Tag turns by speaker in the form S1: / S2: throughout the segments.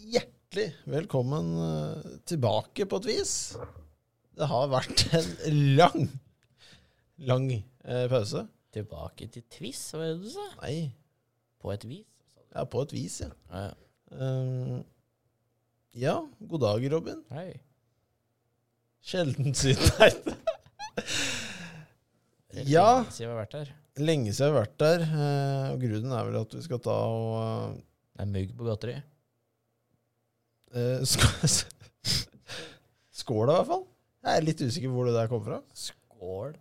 S1: hjertelig velkommen eh, tilbake på et vis. Det har vært en lang, lang eh, pause.
S2: Tilbake til Twiss, hva er det du sa?
S1: Nei,
S2: På et vis.
S1: ja, på et vis, ja.
S2: Ja, ja.
S1: Um, ja, god dag, Robin.
S2: Hei.
S1: Sjelden siden deg. Ja.
S2: Siden vi har vært her.
S1: Lenge siden jeg har vært der, eh, og grunnen er vel at vi skal ta og
S2: Det er mugg på godteri.
S1: eh, sk- Skåla, i hvert fall. Jeg er litt usikker hvor det der kom fra.
S2: Skål.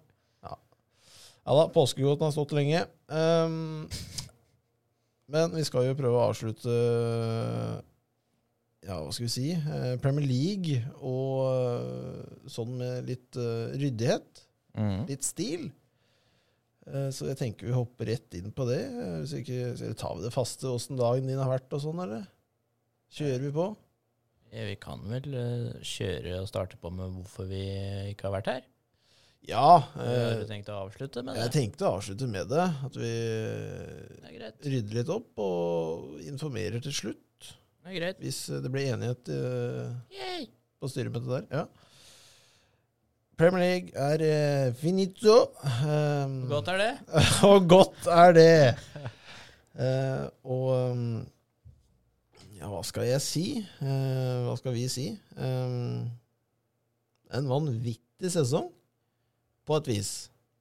S1: Ja da, påskegodten har stått lenge. Ehm, men vi skal jo prøve å avslutte Ja, hva skal vi si? eh, Premier League og eh, sånn med litt eh, ryddighet. Litt stil. Eh, Så jeg tenker vi hopper rett inn på det. eh, Hvis ikke, så tar vi det faste åssen dagen din har vært og sånn, eller? Kjører vi på?
S2: Ja, vi kan vel eh, kjøre og starte på med hvorfor vi ikke har vært her.
S1: Ja.
S2: Vi har
S1: eh,
S2: jo tenkt å avslutte med
S1: Jeg
S2: det.
S1: tenkte å avslutte med det. At vi
S2: Det er greit.
S1: rydder litt opp og informerer til slutt.
S2: Det er greit.
S1: Hvis eh, det blir enighet eh,
S2: Yay.
S1: på styremøtet der. Ja. Premier League er eh, finito. Um,
S2: Hvor godt er det?
S1: og godt er det! Eh, og um, ja, hva skal jeg si? Eh, hva skal vi si? Um, en vanvittig sesong, på et vis.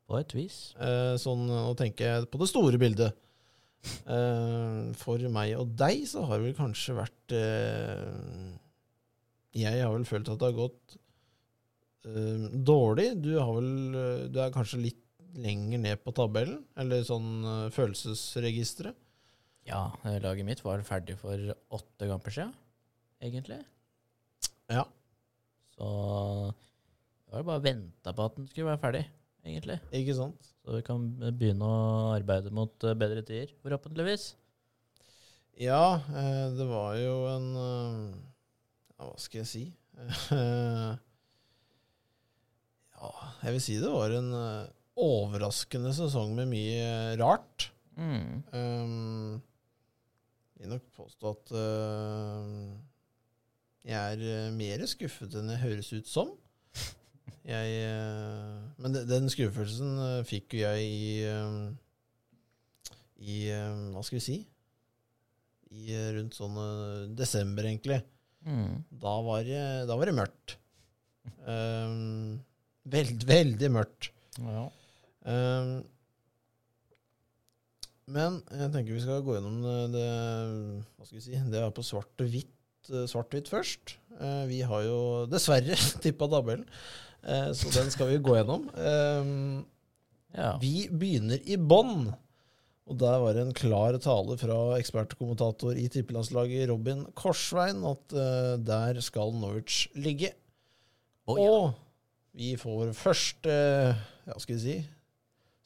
S2: På et vis.
S1: Eh, sånn, nå tenker jeg på det store bildet. Eh, for meg og deg så har det vel kanskje vært eh, Jeg har vel følt at det har gått eh, dårlig. Du, har vel, eh, du er kanskje litt lenger ned på tabellen, eller sånn eh, følelsesregisteret.
S2: Ja, eh, laget mitt var ferdig for åtte kamper siden, egentlig.
S1: Ja.
S2: Så det var bare venta på at den skulle være ferdig, egentlig.
S1: Ikke sant?
S2: Så vi kan begynne å arbeide mot eh, bedre tider, forhåpentligvis.
S1: Ja, eh, det var jo en eh, ja, Hva skal jeg si? Eh, ja, jeg vil si det var en eh, overraskende sesong med mye eh, rart.
S2: Mm.
S1: Um, jeg vil nok påstå at eh, jeg er eh, mer skuffet enn jeg høres ut som. Jeg, eh, men de- den skuffelsen eh, fikk jo jeg i, eh, i eh, Hva skal vi si? I, eh, rundt sånn eh, desember, egentlig.
S2: Mm.
S1: Da var det, da var det mørkt. Um, veld, veldig mørkt.
S2: Ja.
S1: Ehm, men jeg tenker vi skal gå gjennom det, det Hva skal vi si? Det er på svart og hvitt. eh, Svart-hvitt først. Eh, Vi har jo dessverre tippa tabellen, eh, så den skal vi gå gjennom. Ehm,
S2: ja.
S1: Vi begynner i bånn. Og der var det en klar tale fra ekspertkommentator i tippelandslaget Robin Korsvein at eh, der skal Norwich ligge.
S2: Å,
S1: Og vi får først eh, Ja, skal vi si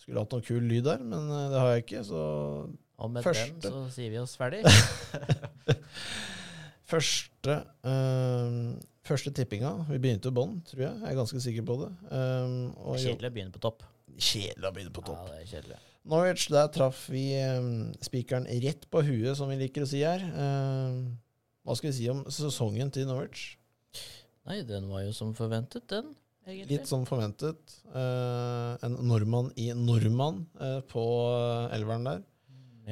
S1: Skulle hatt noe kul lyd der, men eh, det har jeg ikke. Så
S2: Og med
S1: Første.
S2: den så sier vi oss ferdig.
S1: første eh, Første tippinga Vi begynte i bånn, tror jeg. Jeg er ganske sikker på det. Um, og jo-
S2: Kjedelig å begynne på topp.
S1: Kjedelig å begynne på topp.
S2: Ja, det er kjedelig.
S1: Norwich, der traff vi eh, spikeren rett på huet, som vi liker å si her. Eh, hva skal vi si om sesongen til Norwich?
S2: Nei, den var jo som forventet, den, egentlig.
S1: Litt som forventet. Eh, en nordmann i nordmann eh, på eh, elveren der.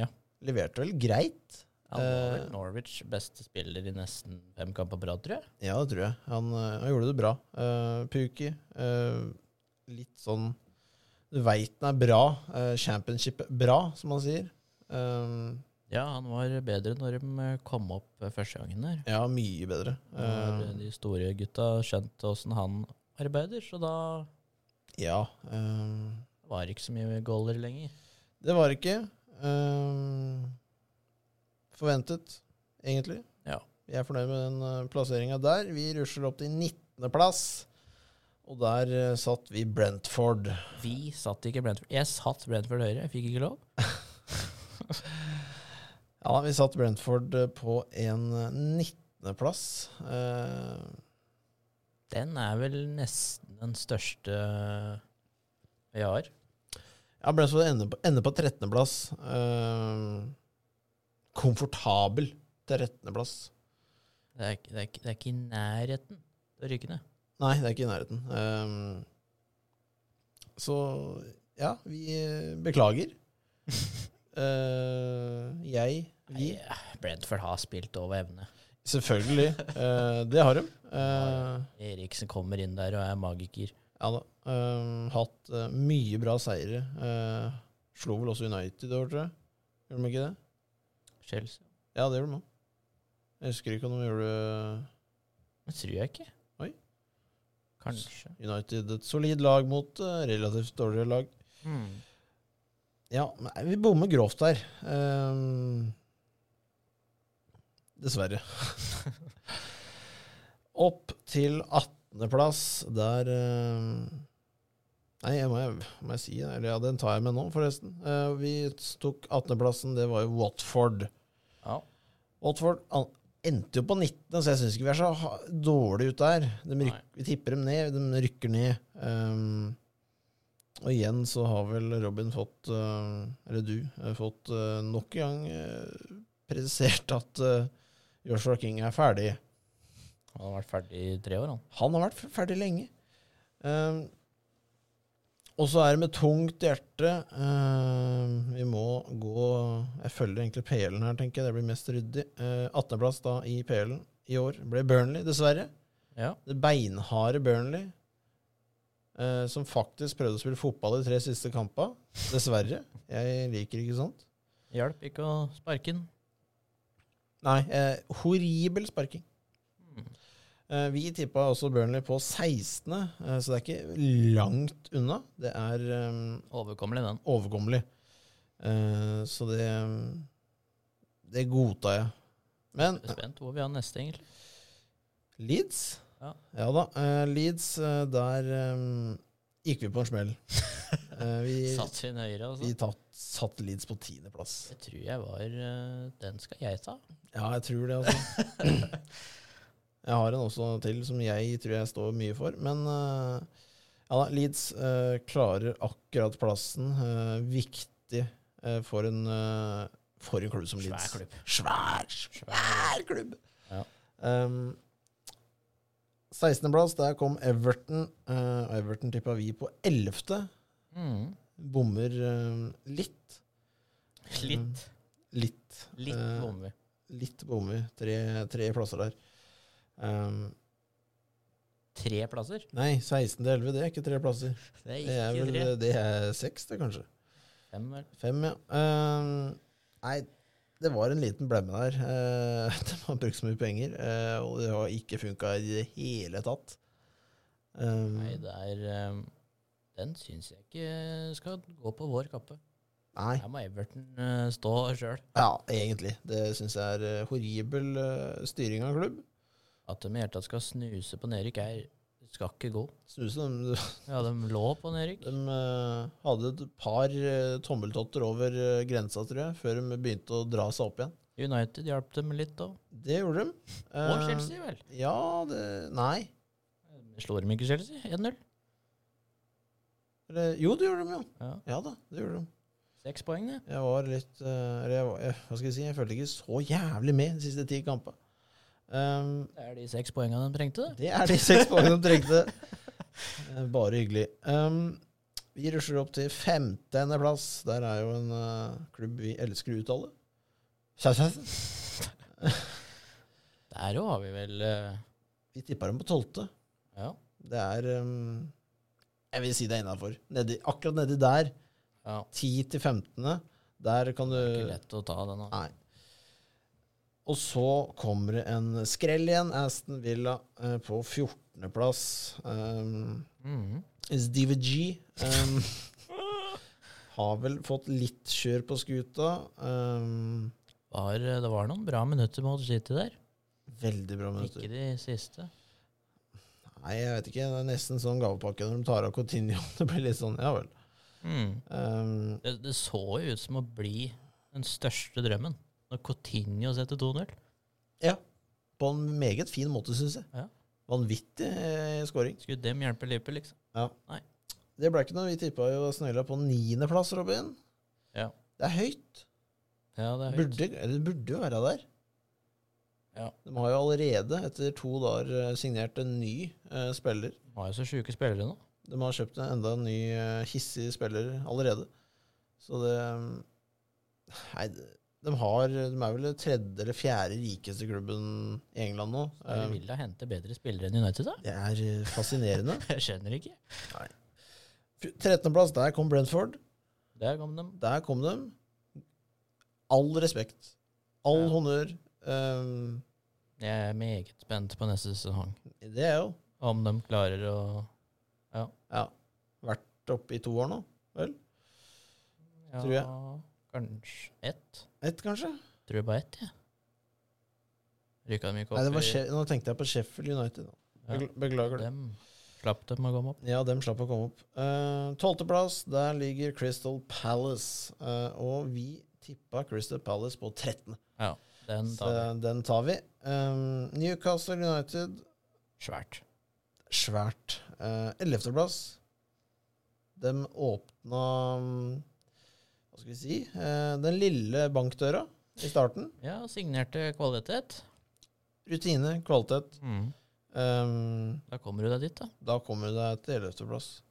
S2: Ja.
S1: Leverte vel greit?
S2: Han var vel
S1: Eh.
S2: Norwich beste spiller i nesten fem kamper på rad, tror jeg.
S1: Ja, det tror jeg. Han, eh, han gjorde det bra. Eh, Puki. eh, litt sånn Du veit den er bra. eh, Championship-bra, som han sier. Eh,
S2: Ja, han var bedre når de eh, kom opp første gangen der.
S1: ja, mye bedre.
S2: Nå har
S1: Eh,
S2: de store gutta skjønt åssen han arbeider, så da
S1: ja. eh,
S2: var det ikke så mye goaler lenger.
S1: Det var det ikke ehm, forventet, egentlig.
S2: Ja.
S1: Vi er fornøyd med den eh, plasseringa der. Vi rusler opp til 19.-plass, og der eh, satt vi Brentford.
S2: Vi satt ikke Brentford. Jeg satt Brentford høyre, jeg fikk ikke lov.
S1: Ja, vi satt Brentford eh, på en 19.-plass. Eh,
S2: Den er vel nesten den største vi har.
S1: ja, Brentford ender på, ender på 13.-plass. Ehm, komfortabel 13.-plass.
S2: Det er, ikke- det, er, ikke- det er ikke i nærheten til å rykke ned.
S1: Nei, det er ikke i nærheten. Ehm, så ja, vi eh, beklager. Eh, jeg, vi
S2: Nei, Brentford har spilt over evne.
S1: Selvfølgelig. Eh, det har de. Eh,
S2: Eriksen kommer inn der og er magiker.
S1: ja da. Ehm, hatt eh, mye bra seire. Eh, slo vel også United i år, tror jeg. Gjorde de ikke det?
S2: Chelsea.
S1: Ja, det gjorde de òg. Jeg husker ikke om de gjorde
S2: Det tror jeg ikke.
S1: Oi.
S2: Kanskje.
S1: United et solid lag mot eh, relativt dårligere lag.
S2: Hmm.
S1: Ja, nei, vi bommer grovt der. Ehm, dessverre. Opp til 18.-plass, der ehm, Nei, jeg må, jeg, må jeg si det? Eller ja, den tar jeg med nå, forresten. Eh, vi tok 18.-plassen, det var jo Watford.
S2: Ja.
S1: Watford an- endte jo på 19., så jeg syns ikke vi er så ha- dårlig ute der. De
S2: Nei.
S1: ryk, vi tipper dem ned, de rykker ned. Ehm, og igjen så har vel Robin fått, eh, eller du, eh, fått eh, nok en gang eh, presisert at eh, Joshua King er ferdig.
S2: Han har vært ferdig i tre år, han.
S1: Han har vært f- ferdig lenge. Ehm, og så er det med tungt hjerte ehm, Vi må gå Jeg følger egentlig PL-en her, tenker jeg. Det blir mest ryddig. Eh, 18.-plass da i PL-en i år ble Burnley, dessverre.
S2: Ja.
S1: Det beinharde Burnley, eh, som faktisk prøvde å spille fotball de tre siste kampene. Dessverre. Jeg liker ikke sånt.
S2: Hjelp ikke å sparke den.
S1: Nei, eh, horribel sparking. Eh, Vi tippa også Burnley på 16., eh, så det er ikke langt unna. Det er eh,
S2: Overkommelig, den.
S1: overkommelig. Eh, Så det Det godtar jeg. Men
S2: Jeg er spent hvor vi har neste, egentlig.
S1: Leeds
S2: Ja.
S1: Ja da. eh, Leeds, eh, der eh, gikk vi på en smell. Eh, Vi,
S2: Satt sin høyre,
S1: vi
S2: altså.
S1: tatt, satt Leeds på tiendeplass.
S2: Jeg tror jeg var eh, Den skal jeg ta.
S1: Ja, jeg tror det, altså. Jeg har en også til som jeg tror jeg står mye for. Men eh, ja da, Leeds eh, klarer akkurat plassen. eh, viktig eh, for en eh, For en klubb som
S2: Svær
S1: Leeds.
S2: klubb.
S1: Svær, svær klubb!
S2: Ja.
S1: Um, 16.-plass, der kom Everton. eh, og Everton tippa vi på 11.
S2: Mm.
S1: Bommer eh, litt.
S2: Litt.
S1: Litt.
S2: Litt
S1: Eh,
S2: bommer vi.
S1: Litt bommer vi. Tre, tre plasser der. Um,
S2: Tre plasser.
S1: nei, 16 til 11, det er ikke tre plasser.
S2: Det
S1: Det er
S2: er ikke
S1: vel eh,
S2: tre.
S1: det er seks, det, kanskje.
S2: Fem, vel.
S1: Fem, ja. Um, nei, det var en liten blemme der. Uh, de har brukt så mye penger, eh, og det har ikke funka i det hele tatt. Um,
S2: Nei, det er eh, Den syns jeg ikke skal gå på vår kappe.
S1: nei.
S2: Her må Everton eh, stå sjøl.
S1: Ja, egentlig. Det syns jeg er eh, horribel eh, styring av klubb.
S2: At de i det hele tatt skal snuse på nedrykk, er skal ikke gå.
S1: Snuse, de,
S2: Ja, de lå på nedrykk.
S1: De eh, hadde et par eh, tommeltotter over eh, grensa, tror jeg, før de begynte å dra seg opp igjen.
S2: United hjalp dem litt òg.
S1: Det gjorde de.
S2: Og
S1: Eh,
S2: Chelsea, vel.
S1: Ja, det Nei.
S2: Slår de ikke Chelsea? 1-0.
S1: Eller, jo, det gjorde de, jo.
S2: Ja.
S1: Ja da, det gjorde de.
S2: Seks poeng, det.
S1: Jeg var litt eh, Eller jeg var, jeg, hva skal jeg si, jeg følte ikke så jævlig med de siste ti kampene. Um,
S2: Det er de seks poengene de trengte. det.
S1: det er de seks poengene de trengte. Eh, Bare hyggelig. Um, vi rusler opp til femtendeplass. Der er jo en eh, klubb vi elsker å uttale. Kjæreste.
S2: Der òg har vi vel eh,
S1: Vi tippa dem på tolvte.
S2: Ja.
S1: Det er um, Jeg vil si det er innafor. Akkurat nedi der,
S2: ja.
S1: 10 til 15., der kan du
S2: Det er ikke lett å ta den. da.
S1: Nei. Og så kommer det en skrell igjen. Aston Villa eh, på 14.-plass. Um,
S2: Mhm.
S1: Steve G um, har vel fått litt kjør på skuta. Um,
S2: Var, eh, det var noen bra minutter mot City der.
S1: veldig bra minutter.
S2: Ikke de siste.
S1: Nei, jeg vet ikke. Det er nesten sånn gavepakke når de tar av Coutinho. Det blir litt sånn, ja vel.
S2: Mm.
S1: Um,
S2: Det, det så jo ut som å bli den største drømmen. Når Coutinho setter 2-0.
S1: Ja. På en meget fin måte, syns jeg.
S2: Ja.
S1: Vanvittig eh, scoring.
S2: Skulle dem hjelpe Liverpool, liksom?
S1: Det ble ikke noe. Vi tippa jo Snøhella på niendeplass, Robin.
S2: Ja.
S1: Det er høyt.
S2: Ja, det er høyt.
S1: Burde, eller det burde jo være der.
S2: Ja.
S1: De har jo allerede, etter to dager, eh, signert en ny eh, spiller.
S2: De har jo så sjuke spillere nå.
S1: De har kjøpt en enda en ny eh, hissig spiller allerede. Så det mm, Nei, det- de, har, de er vel det tredje eller fjerde rikeste klubben i England nå.
S2: Så De
S1: Eh,
S2: vil da hente bedre spillere enn United, da?
S1: Det er eh, fascinerende.
S2: Jeg skjønner ikke.
S1: 13.-plass, der kom Brentford.
S2: Der kom de.
S1: Der kom de. All respekt. All
S2: Ja.
S1: honnør. Um,
S2: Jeg er meget spent på neste sesong.
S1: det er jo
S2: Om de klarer å
S1: ja, vært oppe i to år nå.
S2: ja,
S1: Tror jeg.
S2: Kanskje ett.
S1: Ett, kanskje?
S2: Tror bare ett, jeg. Rykka de ikke opp
S1: Nei, det var
S2: i-
S1: She nå tenkte jeg på Sheffield United. da.
S2: Ja.
S1: Begl- Beklager det.
S2: Dem slapp dem å komme opp.
S1: Ja, dem slapp å komme opp. Eh, Tolvteplass, der ligger Crystal Palace. Eh, og vi tippa Crystal Palace på 13.
S2: Ja, den
S1: Så
S2: tar vi.
S1: den tar vi. Um, Newcastle United,
S2: Svært.
S1: svært. Eh, Ellevteplass. De åpna mm, Hva skal vi si? eh, den lille bankdøra i starten.
S2: Ja, signerte kvalitet.
S1: Rutine, kvalitet.
S2: Mm.
S1: Um,
S2: Da kommer du deg dit, da.
S1: da kommer du deg til ellevteplass.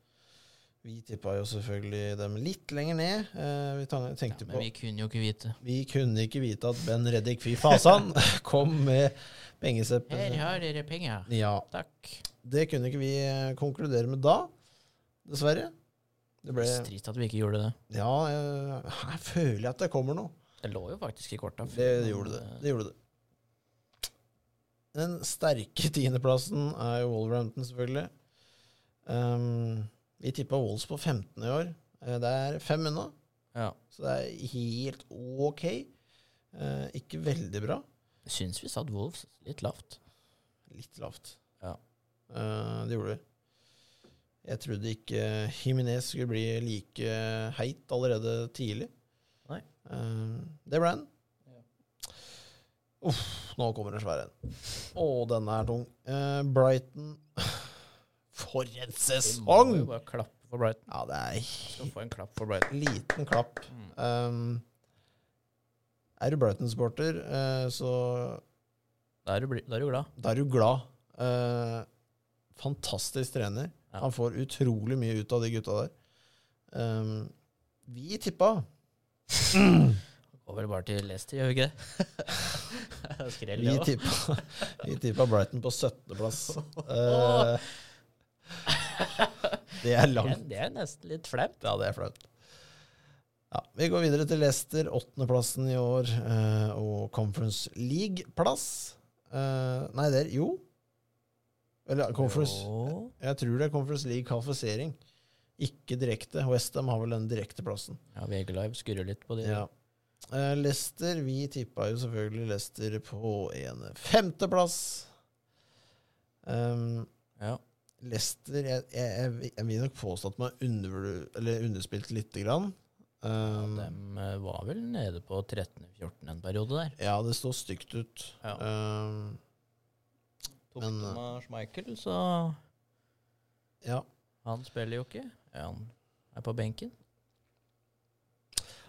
S1: Vi tippa jo selvfølgelig dem litt lenger ned. eh, vi tan-
S2: Ja,
S1: tenkte
S2: men vi
S1: på
S2: kunne jo ikke vite.
S1: Vi kunne ikke vite at Ben Reddik Fy Fasan kom med
S2: Her
S1: pengeseppen.
S2: har dere penger.
S1: Ja,
S2: Takk.
S1: det kunne ikke vi eh, konkludere med da, dessverre. Det ble
S2: Trist at vi ikke gjorde det.
S1: Ja, jeg, her føler jeg at det kommer noe.
S2: Det lå jo faktisk i korta.
S1: Det, gjorde det. det gjorde det. Den sterke tiendeplassen er jo Wolverhampton, selvfølgelig. Ehm, vi tippa Wolls på 15 i år. Eh, Det er fem unna,
S2: eh, Ja.
S1: så det er helt ok. Eh, ikke veldig bra.
S2: Jeg syns vi satt Wolves litt lavt.
S1: Litt lavt.
S2: Ja.
S1: Eh, det gjorde vi. Jeg trodde ikke Himinez skulle bli like heit allerede tidlig.
S2: Nei.
S1: Eh, det ble han. Uff, nå kommer en svær en. Å, denne er tung. Eh, Brighton For en
S2: Vi må jo
S1: sesong!
S2: bare klappe for Brighton.
S1: Ja, det er
S2: Skal få en klapp for Brighton.
S1: en liten klapp.
S2: Mm.
S1: Um, er du Brighton-sporter, eh, så
S2: Da er du, bli- da er du glad.
S1: da er du glad. Eh, fantastisk trener.
S2: Ja.
S1: Han får utrolig mye ut av de gutta der. Um, vi tippa
S2: Går vel bare til Leicester, gjør vi ikke det? Skrell,
S1: Vi
S2: det òg.
S1: tippa, vi tippa Brighton på 17.-plass. det er langt.
S2: Det er nesten litt flaut.
S1: Ja, det er flaut. Ja, vi går videre til Leicester, åttendeplassen i år, eh, og Conference League-plass. Eh, nei, det er Jo. Eller Conference
S2: Jo.
S1: Jeg tror det er Conference League kvalifisering. Ikke direkte. Westham har vel den direkte plassen.
S2: Ja, VG Live skurrer litt på det.
S1: Ja. Eh, Leicester Vi tippa jo selvfølgelig Leicester på en femteplass. Um,
S2: Ja.
S1: Leicester jeg, jeg, jeg, jeg vil nok påstå at man har undervurd- eller underspilt lite grann. Um,
S2: De eh, var vel nede på 13-14 en periode der.
S1: ja, det står stygt ut.
S2: Ja.
S1: Um,
S2: Tok
S1: Men, eh,
S2: Thomas Michael, så
S1: ja.
S2: han spiller jo ikke. Ja, han er på benken.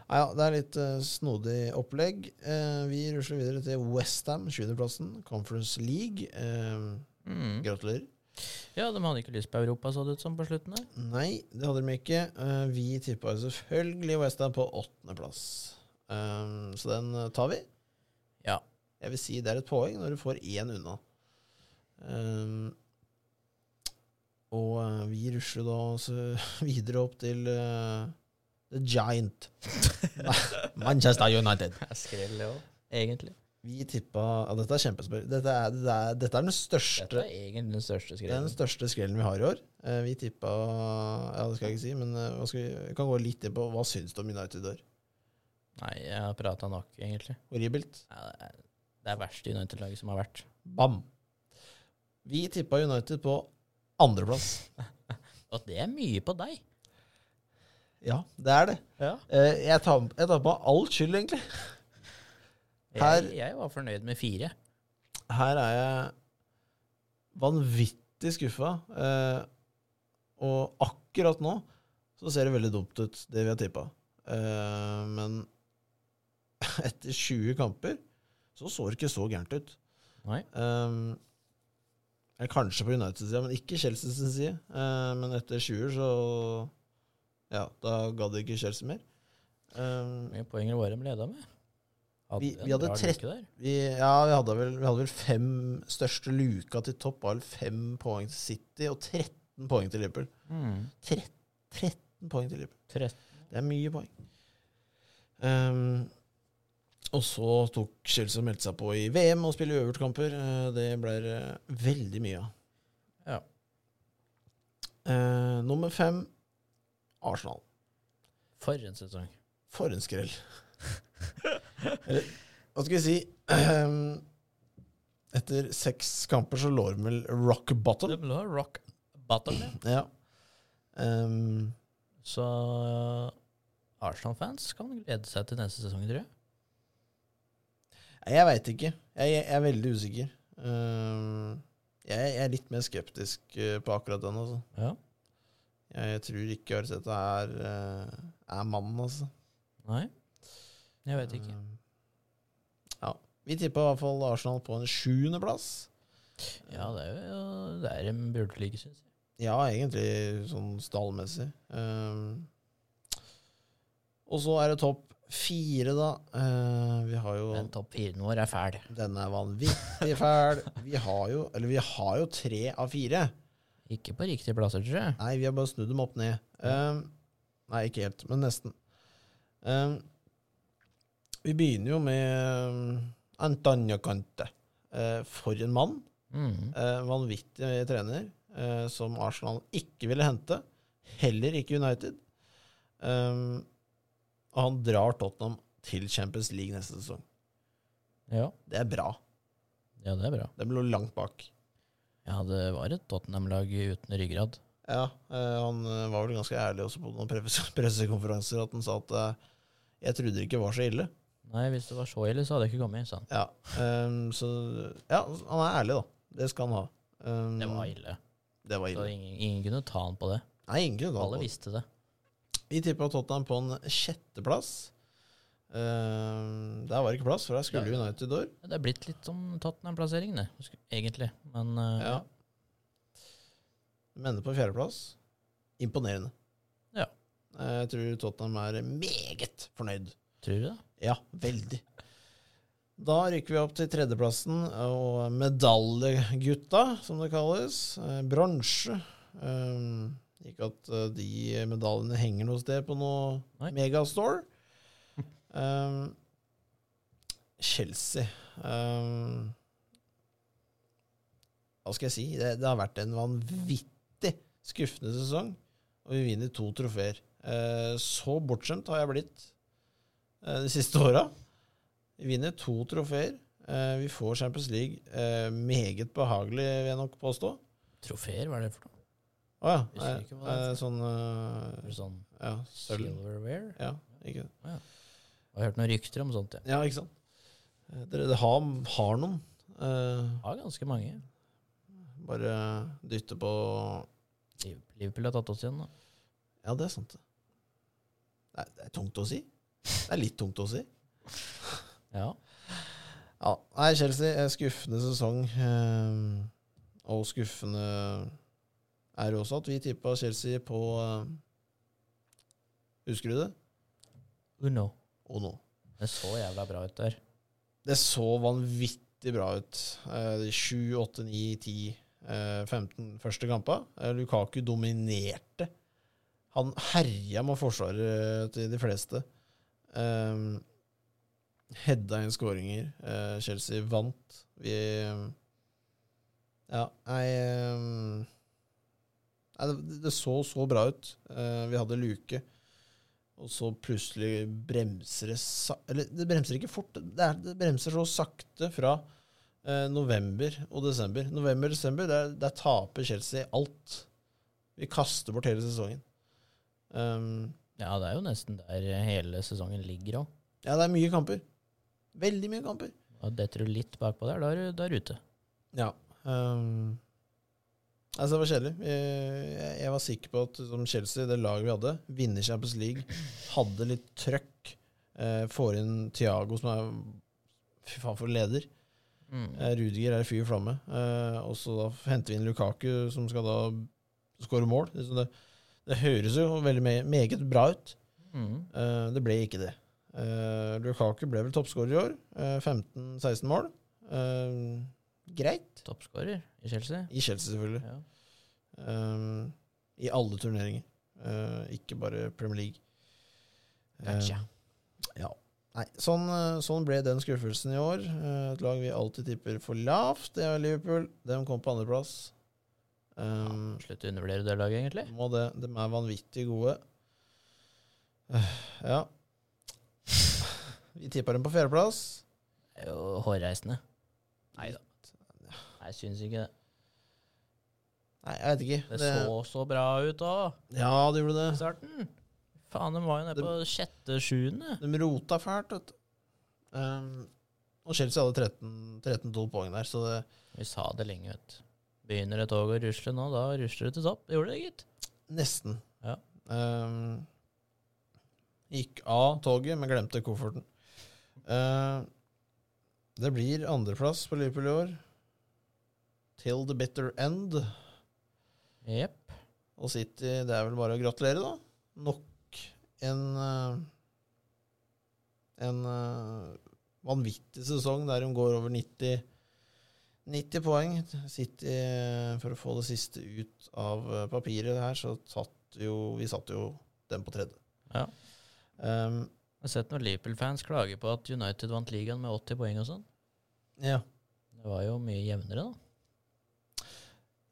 S1: Nei, ja, det er litt eh, snodig opplegg. Eh, vi rusler videre til Westham, 20.-plassen. Conference League. Eh,
S2: Mm.
S1: gratulerer.
S2: Ja, de hadde ikke lyst på Europa, så det ut som på slutten der.
S1: Nei, det hadde de ikke. Eh, vi tippa jo selvfølgelig Westham på åttendeplass. Um, så den eh, tar vi.
S2: Ja.
S1: Jeg vil si det er et poeng når du får én unna. Um, og eh, vi rusler da så videre opp til eh, The Giant. Manchester United.
S2: Skrell, det òg. Egentlig.
S1: Vi tippa ja, Dette er kjempespørsmål. Dette, er- dette, er- dette er den
S2: Dette
S1: største
S2: er egentlig den største
S1: det er
S2: skrellen.
S1: den største skrellen vi har i år. Eh, Vi tippa Ja, det skal jeg ikke si, men eh, hva skal vi, vi kan gå litt inn på hva syns du om United i år?
S2: Nei, jeg har prata nok, egentlig.
S1: Horribelt.
S2: Ja, det er- Det er verste United-laget som har vært.
S1: Bam! Vi tippa United på andreplass.
S2: Og det er mye på deg.
S1: Ja, det er det.
S2: Ja.
S1: Eh, Jeg tar, jeg tar på meg all skyld, egentlig. Her-
S2: Jeg, jeg var fornøyd med fire.
S1: Her er jeg vanvittig skuffa. eh, Og akkurat nå så ser det veldig dumt ut, det vi har tippa. Eh, Men etter 20 kamper så så det ikke så gærent ut.
S2: Nei.
S1: Ehm, eller kanskje på Uniteds side, men ikke Chelsea sin side. Ehm, men etter sjuer, så Ja, da gadd ikke Chelsea mer. Ehm,
S2: Hvor mange poeng var det de leda med?
S1: Vi-
S2: en
S1: vi hadde
S2: bra
S1: 13
S2: luke der.
S1: vi, ja, vi hadde, vel, vi hadde vel fem største luka til topp. Var vel fem poeng til City og 13 poeng til Liverpool.
S2: Mm.
S1: 13, 13 poeng til Liverpool.
S2: 13.
S1: Det er mye poeng. Ehm, og så tok Chelsea og meldte seg på i VM og spille øvertkamper. Eh, Det ble eh, veldig mye av.
S2: Ja.
S1: Eh, nummer fem Arsenal.
S2: For en sesong.
S1: For en skrell. Eller, hva skal vi si ehm, Etter seks kamper så lå de vel rock bottom.
S2: De lå rock bottom, ja.
S1: Ja. Ehm,
S2: Så eh, Arsenal-fans kan glede seg til neste sesong, tror jeg.
S1: nei, jeg veit ikke. Jeg, jeg er veldig usikker. Ehm, jeg, jeg er litt mer skeptisk eh, på akkurat den. Altså.
S2: Ja.
S1: Jeg tror ikke Arteta er, eh, er mannen, altså.
S2: Nei. Jeg vet ikke.
S1: Ehm, ja. Vi tippa i hvert fall Arsenal på en sjuendeplass.
S2: Ja, det er jo der de burde ligge, syns jeg.
S1: Ja, egentlig sånn stallmessig. Ehm, og så er det topp fire, da. Eh, vi har jo
S2: Men topp firen vår er fæl.
S1: Denne er vanvittig fæl. Vi har jo Eller vi har jo tre av fire.
S2: Ikke på riktige plasser, tror jeg.
S1: Nei, vi har bare snudd dem opp ned. Ehm, nei, ikke helt, men nesten. Ehm, vi begynner jo med um, Antonio Conte. Eh, for en mann.
S2: Mm.
S1: Eh, vanvittig trener eh, som Arsenal ikke ville hente. Heller ikke United. Um, og han drar Tottenham til Champions League neste sesong.
S2: Ja.
S1: Det er bra.
S2: ja, det er bra.
S1: De lå langt bak.
S2: Ja, det var et Tottenham-lag uten ryggrad.
S1: Ja, eh, Han eh, var vel ganske ærlig også på noen presse- pressekonferanser at han sa at eh, jeg trodde det ikke var så ille.
S2: Nei, hvis det var så ille, så hadde jeg ikke kommet, sa han.
S1: Ja, um, Så ja, han er ærlig, da. Det skal han ha. Um,
S2: Det var ille.
S1: Det var
S2: Så
S1: ille.
S2: ingen, ingen kunne ta han på det.
S1: Nei, ingen kunne ta
S2: Alle
S1: det.
S2: visste det.
S1: Vi tippa Tottenham på en sjetteplass. Ehm, der var det ikke plass, for der skulle
S2: Ja.
S1: United år.
S2: Det er blitt litt som Tottenham-plassering, det, husk- egentlig. Men eh,
S1: Ja. De ender på fjerdeplass. Imponerende.
S2: Ja.
S1: Eh, Jeg tror Tottenham er meget fornøyd.
S2: tror du det?
S1: Ja, veldig. Da rykker vi opp til tredjeplassen og medaljegutta, som det kalles. Eh, Bronse. Ehm, ikke at eh, de medaljene henger noe sted på noe
S2: Nei.
S1: megastore. Ehm, Chelsea Ehm, Hva skal jeg si? Det, det har vært en vanvittig skuffende sesong, og vi vinner to trofeer. Eh, så bortskjemt har jeg blitt eh, de siste åra. Vi vinner to trofeer. Eh, vi får Champions League eh, meget behagelig, vil jeg nok påstå.
S2: Trofeer, hva er det for noe?
S1: Å ja.
S2: Husker
S1: eh,
S2: ikke hva det
S1: eh,
S2: er
S1: sånn
S2: Er det
S1: eh,
S2: Sånn
S1: Ja, sølv.
S2: silverware?
S1: Ja, ikke
S2: Jeg har hørt noen rykter om sånt, ja.
S1: Ja, ikke sant? Eh, Dere det har, har noen. Eh,
S2: Ja, ganske mange.
S1: bare dytte på
S2: Liv- Liverpool har tatt oss igjen, da.
S1: Ja, det er sant. det. Det er, det er tungt å si. Det er litt tungt å si.
S2: Ja.
S1: Ja, nei, Chelsea er skuffende sesong. ehm, og skuffende er det også at vi tippa Chelsea på ehm, Husker du det?
S2: Uno.
S1: Og nå.
S2: Det så jævla bra ut der.
S1: Det så vanvittig bra ut. Eh, de 7, 8, 9, 10, eh, 15 første kampa. Eh, Lukaku dominerte. Han herja med forsvaret eh, til de fleste. Um, Hedda inn skåringer. Eh, Chelsea vant. Vi Ja, nei ehm, Nei, det, det så så bra ut. Eh, vi hadde luke. Og så plutselig bremser det sa Eller det bremser ikke fort. Det, er, det bremser så sakte fra eh, november og desember. November-desember, der, der taper Chelsea alt. Vi kaster bort hele sesongen. Um,
S2: Ja, det er jo nesten der hele sesongen ligger òg.
S1: ja, det er mye kamper. Veldig mye kamper.
S2: Detter du litt bakpå der, da er du der ute.
S1: Ja. ehm, altså, det var kjedelig. Eh, Jeg, jeg var sikker på at som Chelsea, det laget vi hadde, vinner Champions League, hadde litt trøkk, eh, får inn Thiago, som er fy faen for en leder.
S2: Mm.
S1: Eh, Rudiger er fy i flamme. Eh, og så da henter vi inn Lukaku, som skal da skåre mål. Det, sånn det, det høres jo veldig me meget bra ut.
S2: Mm.
S1: Eh, det ble ikke det. Eh, Lukaku ble vel toppskårer i år. Eh, 15-16 mål. Eh, greit.
S2: Toppskårer i Chelsea.
S1: I Chelsea, selvfølgelig.
S2: Ja.
S1: Eh, I alle turneringer. Eh, ikke bare Premier League. Eh,
S2: Gotcha.
S1: ja. Nei, sånn, eh, sånn ble den skuffelsen i år. Eh, Et lag vi alltid tipper for lavt, det er Liverpool. De kom på andreplass. Um,
S2: Slutt å undervurdere det laget, egentlig.
S1: må det. De er vanvittig gode. Eh, Ja. Vi tippa dem på fjerdeplass.
S2: Det er jo hårreisende. Nei da. Jeg syns ikke det.
S1: Nei, jeg vet ikke.
S2: Det så så bra ut òg,
S1: Ja, de gjorde
S2: i
S1: det.
S2: starten. Faen, de var jo nede på sjette-sjuende.
S1: De rota fælt, vet du. Um, og Chelsea hadde 13 13-12 poeng der, så det
S2: Vi sa det lenge, vet du. Begynner et tog å rusle nå, da rusler det til topp. Gjorde det, gitt.
S1: Nesten.
S2: Ja.
S1: Ehm, gikk av toget, men glemte kofferten. Ehm, det blir andreplass på Liverpool i år. Till the bitter end.
S2: Jepp.
S1: Og City, det er vel bare å gratulere, da. Nok en eh, En eh, vanvittig sesong der de går over 90, 90 poeng. City, eh, for å få det siste ut av eh, papiret her, så satt jo Vi satt jo dem på tredje.
S2: Ja.
S1: Ehm,
S2: Jeg har sett noen Liverpool-fans klage på at United vant ligaen med 80 poeng og sånn.
S1: ja.
S2: Det var jo mye jevnere, da.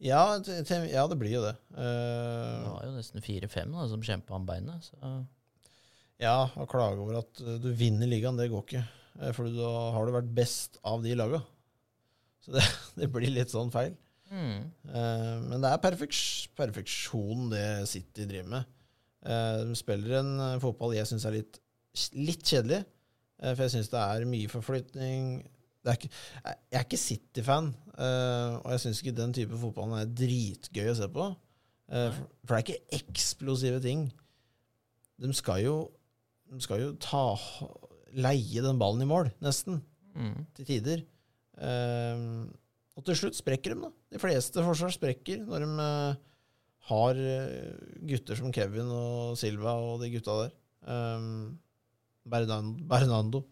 S1: Ja, te- te- ja, det blir jo det. Ehm,
S2: Det var jo nesten 4-5 da, som kjempa om beinet. Så
S1: Ja, å klage over at eh, du vinner ligaen, det går ikke. Eh, For da har du vært best av de laga. Så det, det blir litt sånn feil.
S2: mm.
S1: Eh, Men det er perfeks, perfeksjon det City driver med. Eh, De spiller en eh, fotball jeg syns er litt, litt kjedelig. eh, For jeg syns det er mye forflytning. Det er ikke, jeg jeg er ikke City-fan, eh, og jeg syns ikke den type fotball er dritgøy å se på. Eh, For for det er ikke eksplosive ting. De skal jo, de skal jo ta, leie den ballen i mål, nesten
S2: Mm.
S1: til tider. Ehm, og til slutt sprekker de, da. De fleste forsvar sprekker når de eh, har eh, gutter som Kevin og Silva og de gutta der. Ehm, Bernan- Bernardo.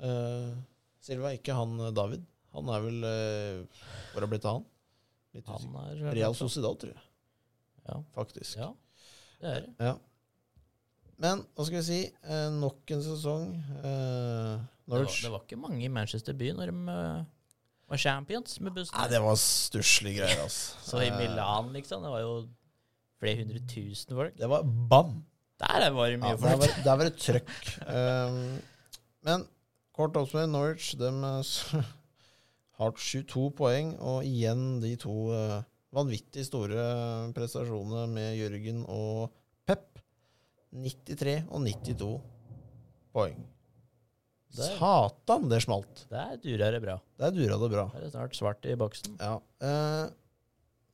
S1: Eh, Silva, ikke han eh, David. Han er vel uh, Hvor har blitt av han? Litt usikker.
S2: Han er
S1: Real Sociedad, tror jeg.
S2: Ja.
S1: Faktisk.
S2: ja, det er det.
S1: Ja. Men hva skal vi si? Eh, nok en sesong. Eh,
S2: Det var,
S1: Norwich
S2: det var ikke mange i Manchester by når de eh, var champions med bussen.
S1: Nei, det var stusslige greier, altså.
S2: Så i
S1: Eh,
S2: Milan, liksom, det var jo flere hundre tusen folk.
S1: Eh, Det var bam!
S2: Der var det
S1: Ja, der,
S2: mye folk.
S1: var, der var det trøkk. Um, men kort oppsummert, Norwich de eh, s- har 22 poeng, og igjen de to eh, vanvittig store eh, prestasjonene med Jørgen og Pep. 93 og 92 poeng.
S2: Der.
S1: Satan, det smalt!
S2: Der durer det bra.
S1: Der dura det bra.
S2: Der er det snart svart i boksen.
S1: Ja. eh,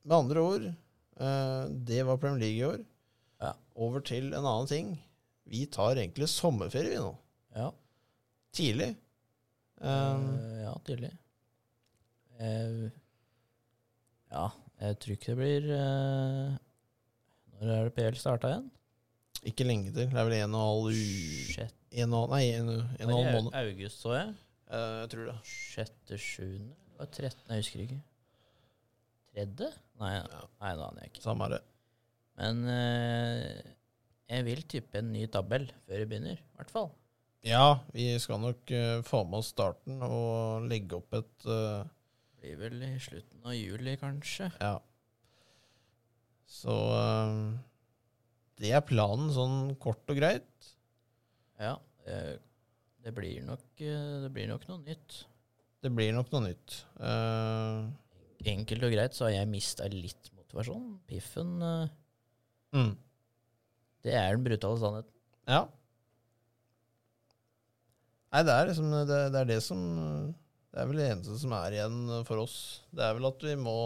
S1: med andre ord, eh, det var Premier League i år.
S2: Ja.
S1: Over til en annen ting. Vi tar egentlig sommerferie vi nå.
S2: Ja,
S1: Tidlig. Eh,
S2: eh, ja tydelig. Eh, ja, jeg tror ikke det blir eh, Når er det PL starta igjen?
S1: ikke lenge til. Det er vel en og en halv u...
S2: Sjette
S1: En og, nei, en, en og en halv måned.
S2: august, så jeg.
S1: Eh, jeg tror det.
S2: Sjette, sjuende Det var trettende, jeg husker ikke. Tredje? Nei,
S1: Ja.
S2: nei det aner jeg ikke.
S1: Samme er det.
S2: Men eh, jeg vil tippe en ny tabell før vi begynner, i hvert fall.
S1: Ja, vi skal nok eh, få med oss starten og legge opp et eh,
S2: Blir vel i slutten av juli, kanskje.
S1: Ja. Så eh, det er planen, sånn kort og greit.
S2: Ja. eh, det blir nok, eh, det blir nok noe nytt.
S1: Det blir nok noe nytt. Eh,
S2: Enkelt og greit så har jeg mista litt motivasjon. Piffen, eh,
S1: Mm.
S2: det er den brutale sannheten.
S1: Ja. Nei, det er liksom det, det er det som Det er vel det eneste som er igjen for oss. Det er vel at vi må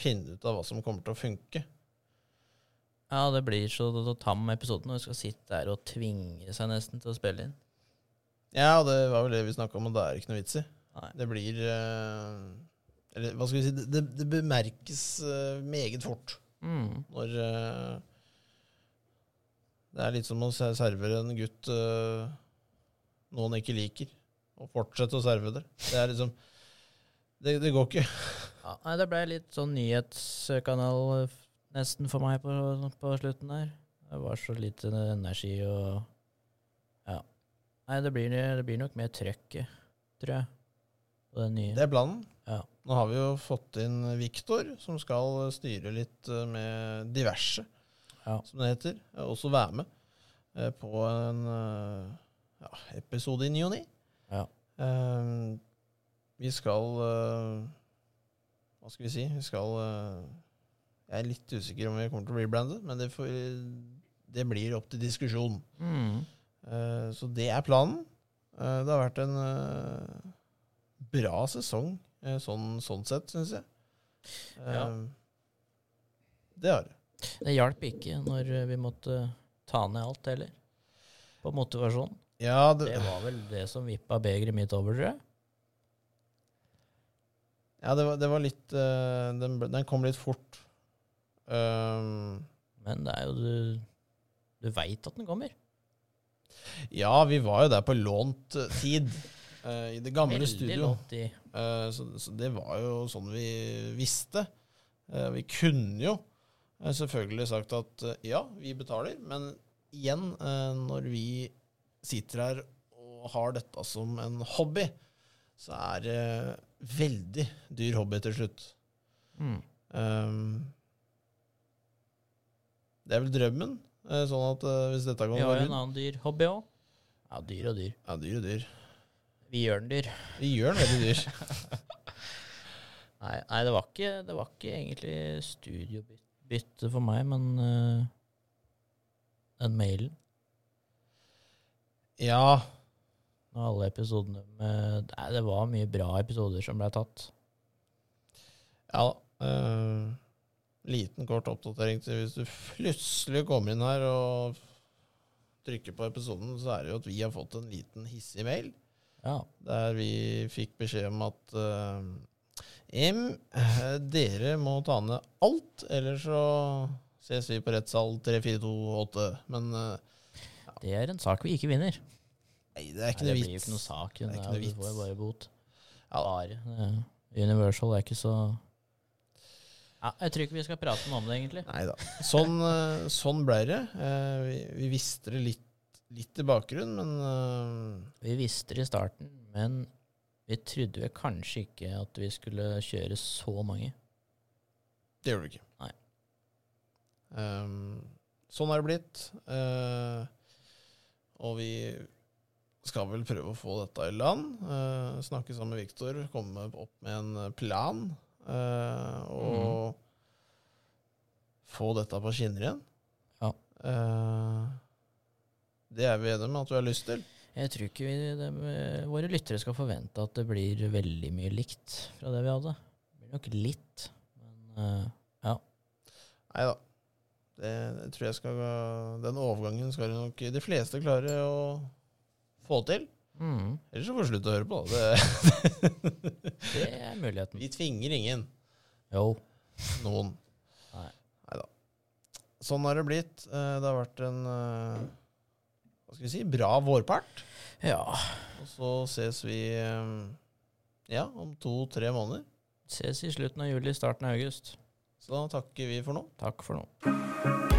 S1: finne ut av hva som kommer til å funke.
S2: Ja, det blir så, så tam episode når vi skal sitte her og tvinge seg nesten til å spille inn.
S1: Ja, og det var vel det vi snakka om, og det er ikke noe vits i.
S2: Nei.
S1: Det blir eh, Eller hva skal vi si Det, det, det bemerkes eh, meget fort
S2: Mm.
S1: når eh, Det er litt som å se- servere en gutt eh, noe han ikke liker, og fortsette å serve det. Det er liksom Det, det går ikke.
S2: Ja, nei, det ble litt sånn nyhetskanal eh, f- nesten for meg på, på slutten der. Det var så lite energi og Ja. Nei, det blir, det blir nok mer trøkk, tror jeg. På den nye.
S1: Det er planen.
S2: Ja.
S1: Nå har vi jo fått inn Viktor, som skal styre litt eh, med diverse,
S2: Ja.
S1: som det heter. Eh, Også være med eh, på en eh, ja, episode i ny og ni.
S2: Ja.
S1: Eh, Vi skal eh, Hva skal vi si? Vi skal eh, Jeg er litt usikker om vi kommer til å rebrande, men det, får, det blir opp til diskusjon.
S2: Mm.
S1: Eh, Så det er planen. Eh, Det har vært en eh, bra sesong eh, sånn, sånn sett, syns jeg. Eh,
S2: Ja.
S1: Det har det.
S2: Det hjalp ikke når eh, vi måtte ta ned alt heller. På motivasjon.
S1: Ja, det,
S2: Det var vel det som vippa begeret mitt over, tror jeg.
S1: ja, det, var, det var litt eh, den, ble- den kom litt fort. Um,
S2: Men det er jo du Du veit at den kommer.
S1: ja, vi var jo der på lånt eh, tid eh, i det gamle studio.
S2: lånt i.
S1: Eh, så, så det var jo sånn vi visste. Eh, vi kunne jo eh, selvfølgelig sagt at eh, ja, vi betaler, men igjen, eh, når vi sitter her og har dette som en hobby, så er det veldig dyr hobby til slutt.
S2: Mm.
S1: Ehm, det er vel drømmen, eh, sånn at eh, hvis dette
S2: Vi
S1: kan
S2: har jo
S1: være
S2: en
S1: rundt
S2: annen dyr hobby òg. Ja, dyr og dyr.
S1: Ja, dyr og dyr.
S2: Vi gjør den dyr.
S1: Vi gjør den veldig dyr.
S2: Nei, nei det, var ikke, det var ikke egentlig studiobytte for meg, men øh, den mailen
S1: Ja,
S2: og alle episodene med Nei, det var mye bra episoder som ble tatt.
S1: Ja da. eh, liten, kort oppdatering til hvis du plutselig kommer inn her og trykker på episoden, så er det jo at vi har fått en liten hissig mail
S2: Ja.
S1: der vi fikk beskjed om at eh, M, eh, dere må ta ned alt, eller så ses vi på rettssal 3428. Men eh,
S2: Det er en sak vi ikke vinner.
S1: nei, det er ikke noe
S2: Nei, det blir jo
S1: vits.
S2: ikke noe sak.
S1: Det er
S2: Det
S1: ikke noe
S2: Du får
S1: vits.
S2: jo bare bot.
S1: Ja.
S2: Bare. eh, Universal er ikke så ja, Jeg tror ikke vi skal prate noe om det, egentlig.
S1: Nei da. Sånn, eh, sånn ble det. Eh, vi, vi visste det litt, litt i bakgrunnen, men eh,
S2: Vi visste det i starten, men vi trodde vel kanskje ikke at vi skulle kjøre så mange.
S1: Det gjør du ikke.
S2: Nei.
S1: Ehm, sånn er det blitt. Eh, og vi skal vel prøve å få dette i land. Eh, snakke sammen med Viktor, komme opp med en plan. eh,
S2: Mhm.
S1: og få dette på skinner igjen.
S2: Ja.
S1: Eh, det er vi enige om at vi har lyst til.
S2: Jeg tror ikke vi, de, våre lyttere skal forvente at det blir veldig mye likt fra det vi hadde. Det blir nok litt, men eh,
S1: Nei da. Det, det tror jeg skal Den overgangen skal nok de fleste klare å få til.
S2: mm,
S1: Ellers så får du slutte å høre på. da.
S2: det er
S1: Det,
S2: muligheten.
S1: vi tvinger ingen.
S2: Jo.
S1: Noen.
S2: Nei.
S1: da. Sånn har det blitt. Eh, Det har vært en eh, hva skal vi si, bra vårpart.
S2: Ja.
S1: Og så ses vi eh, ja, om to-tre måneder.
S2: Ses i slutten av juli, starten av august.
S1: Så da takker vi for nå.
S2: Takk for nå.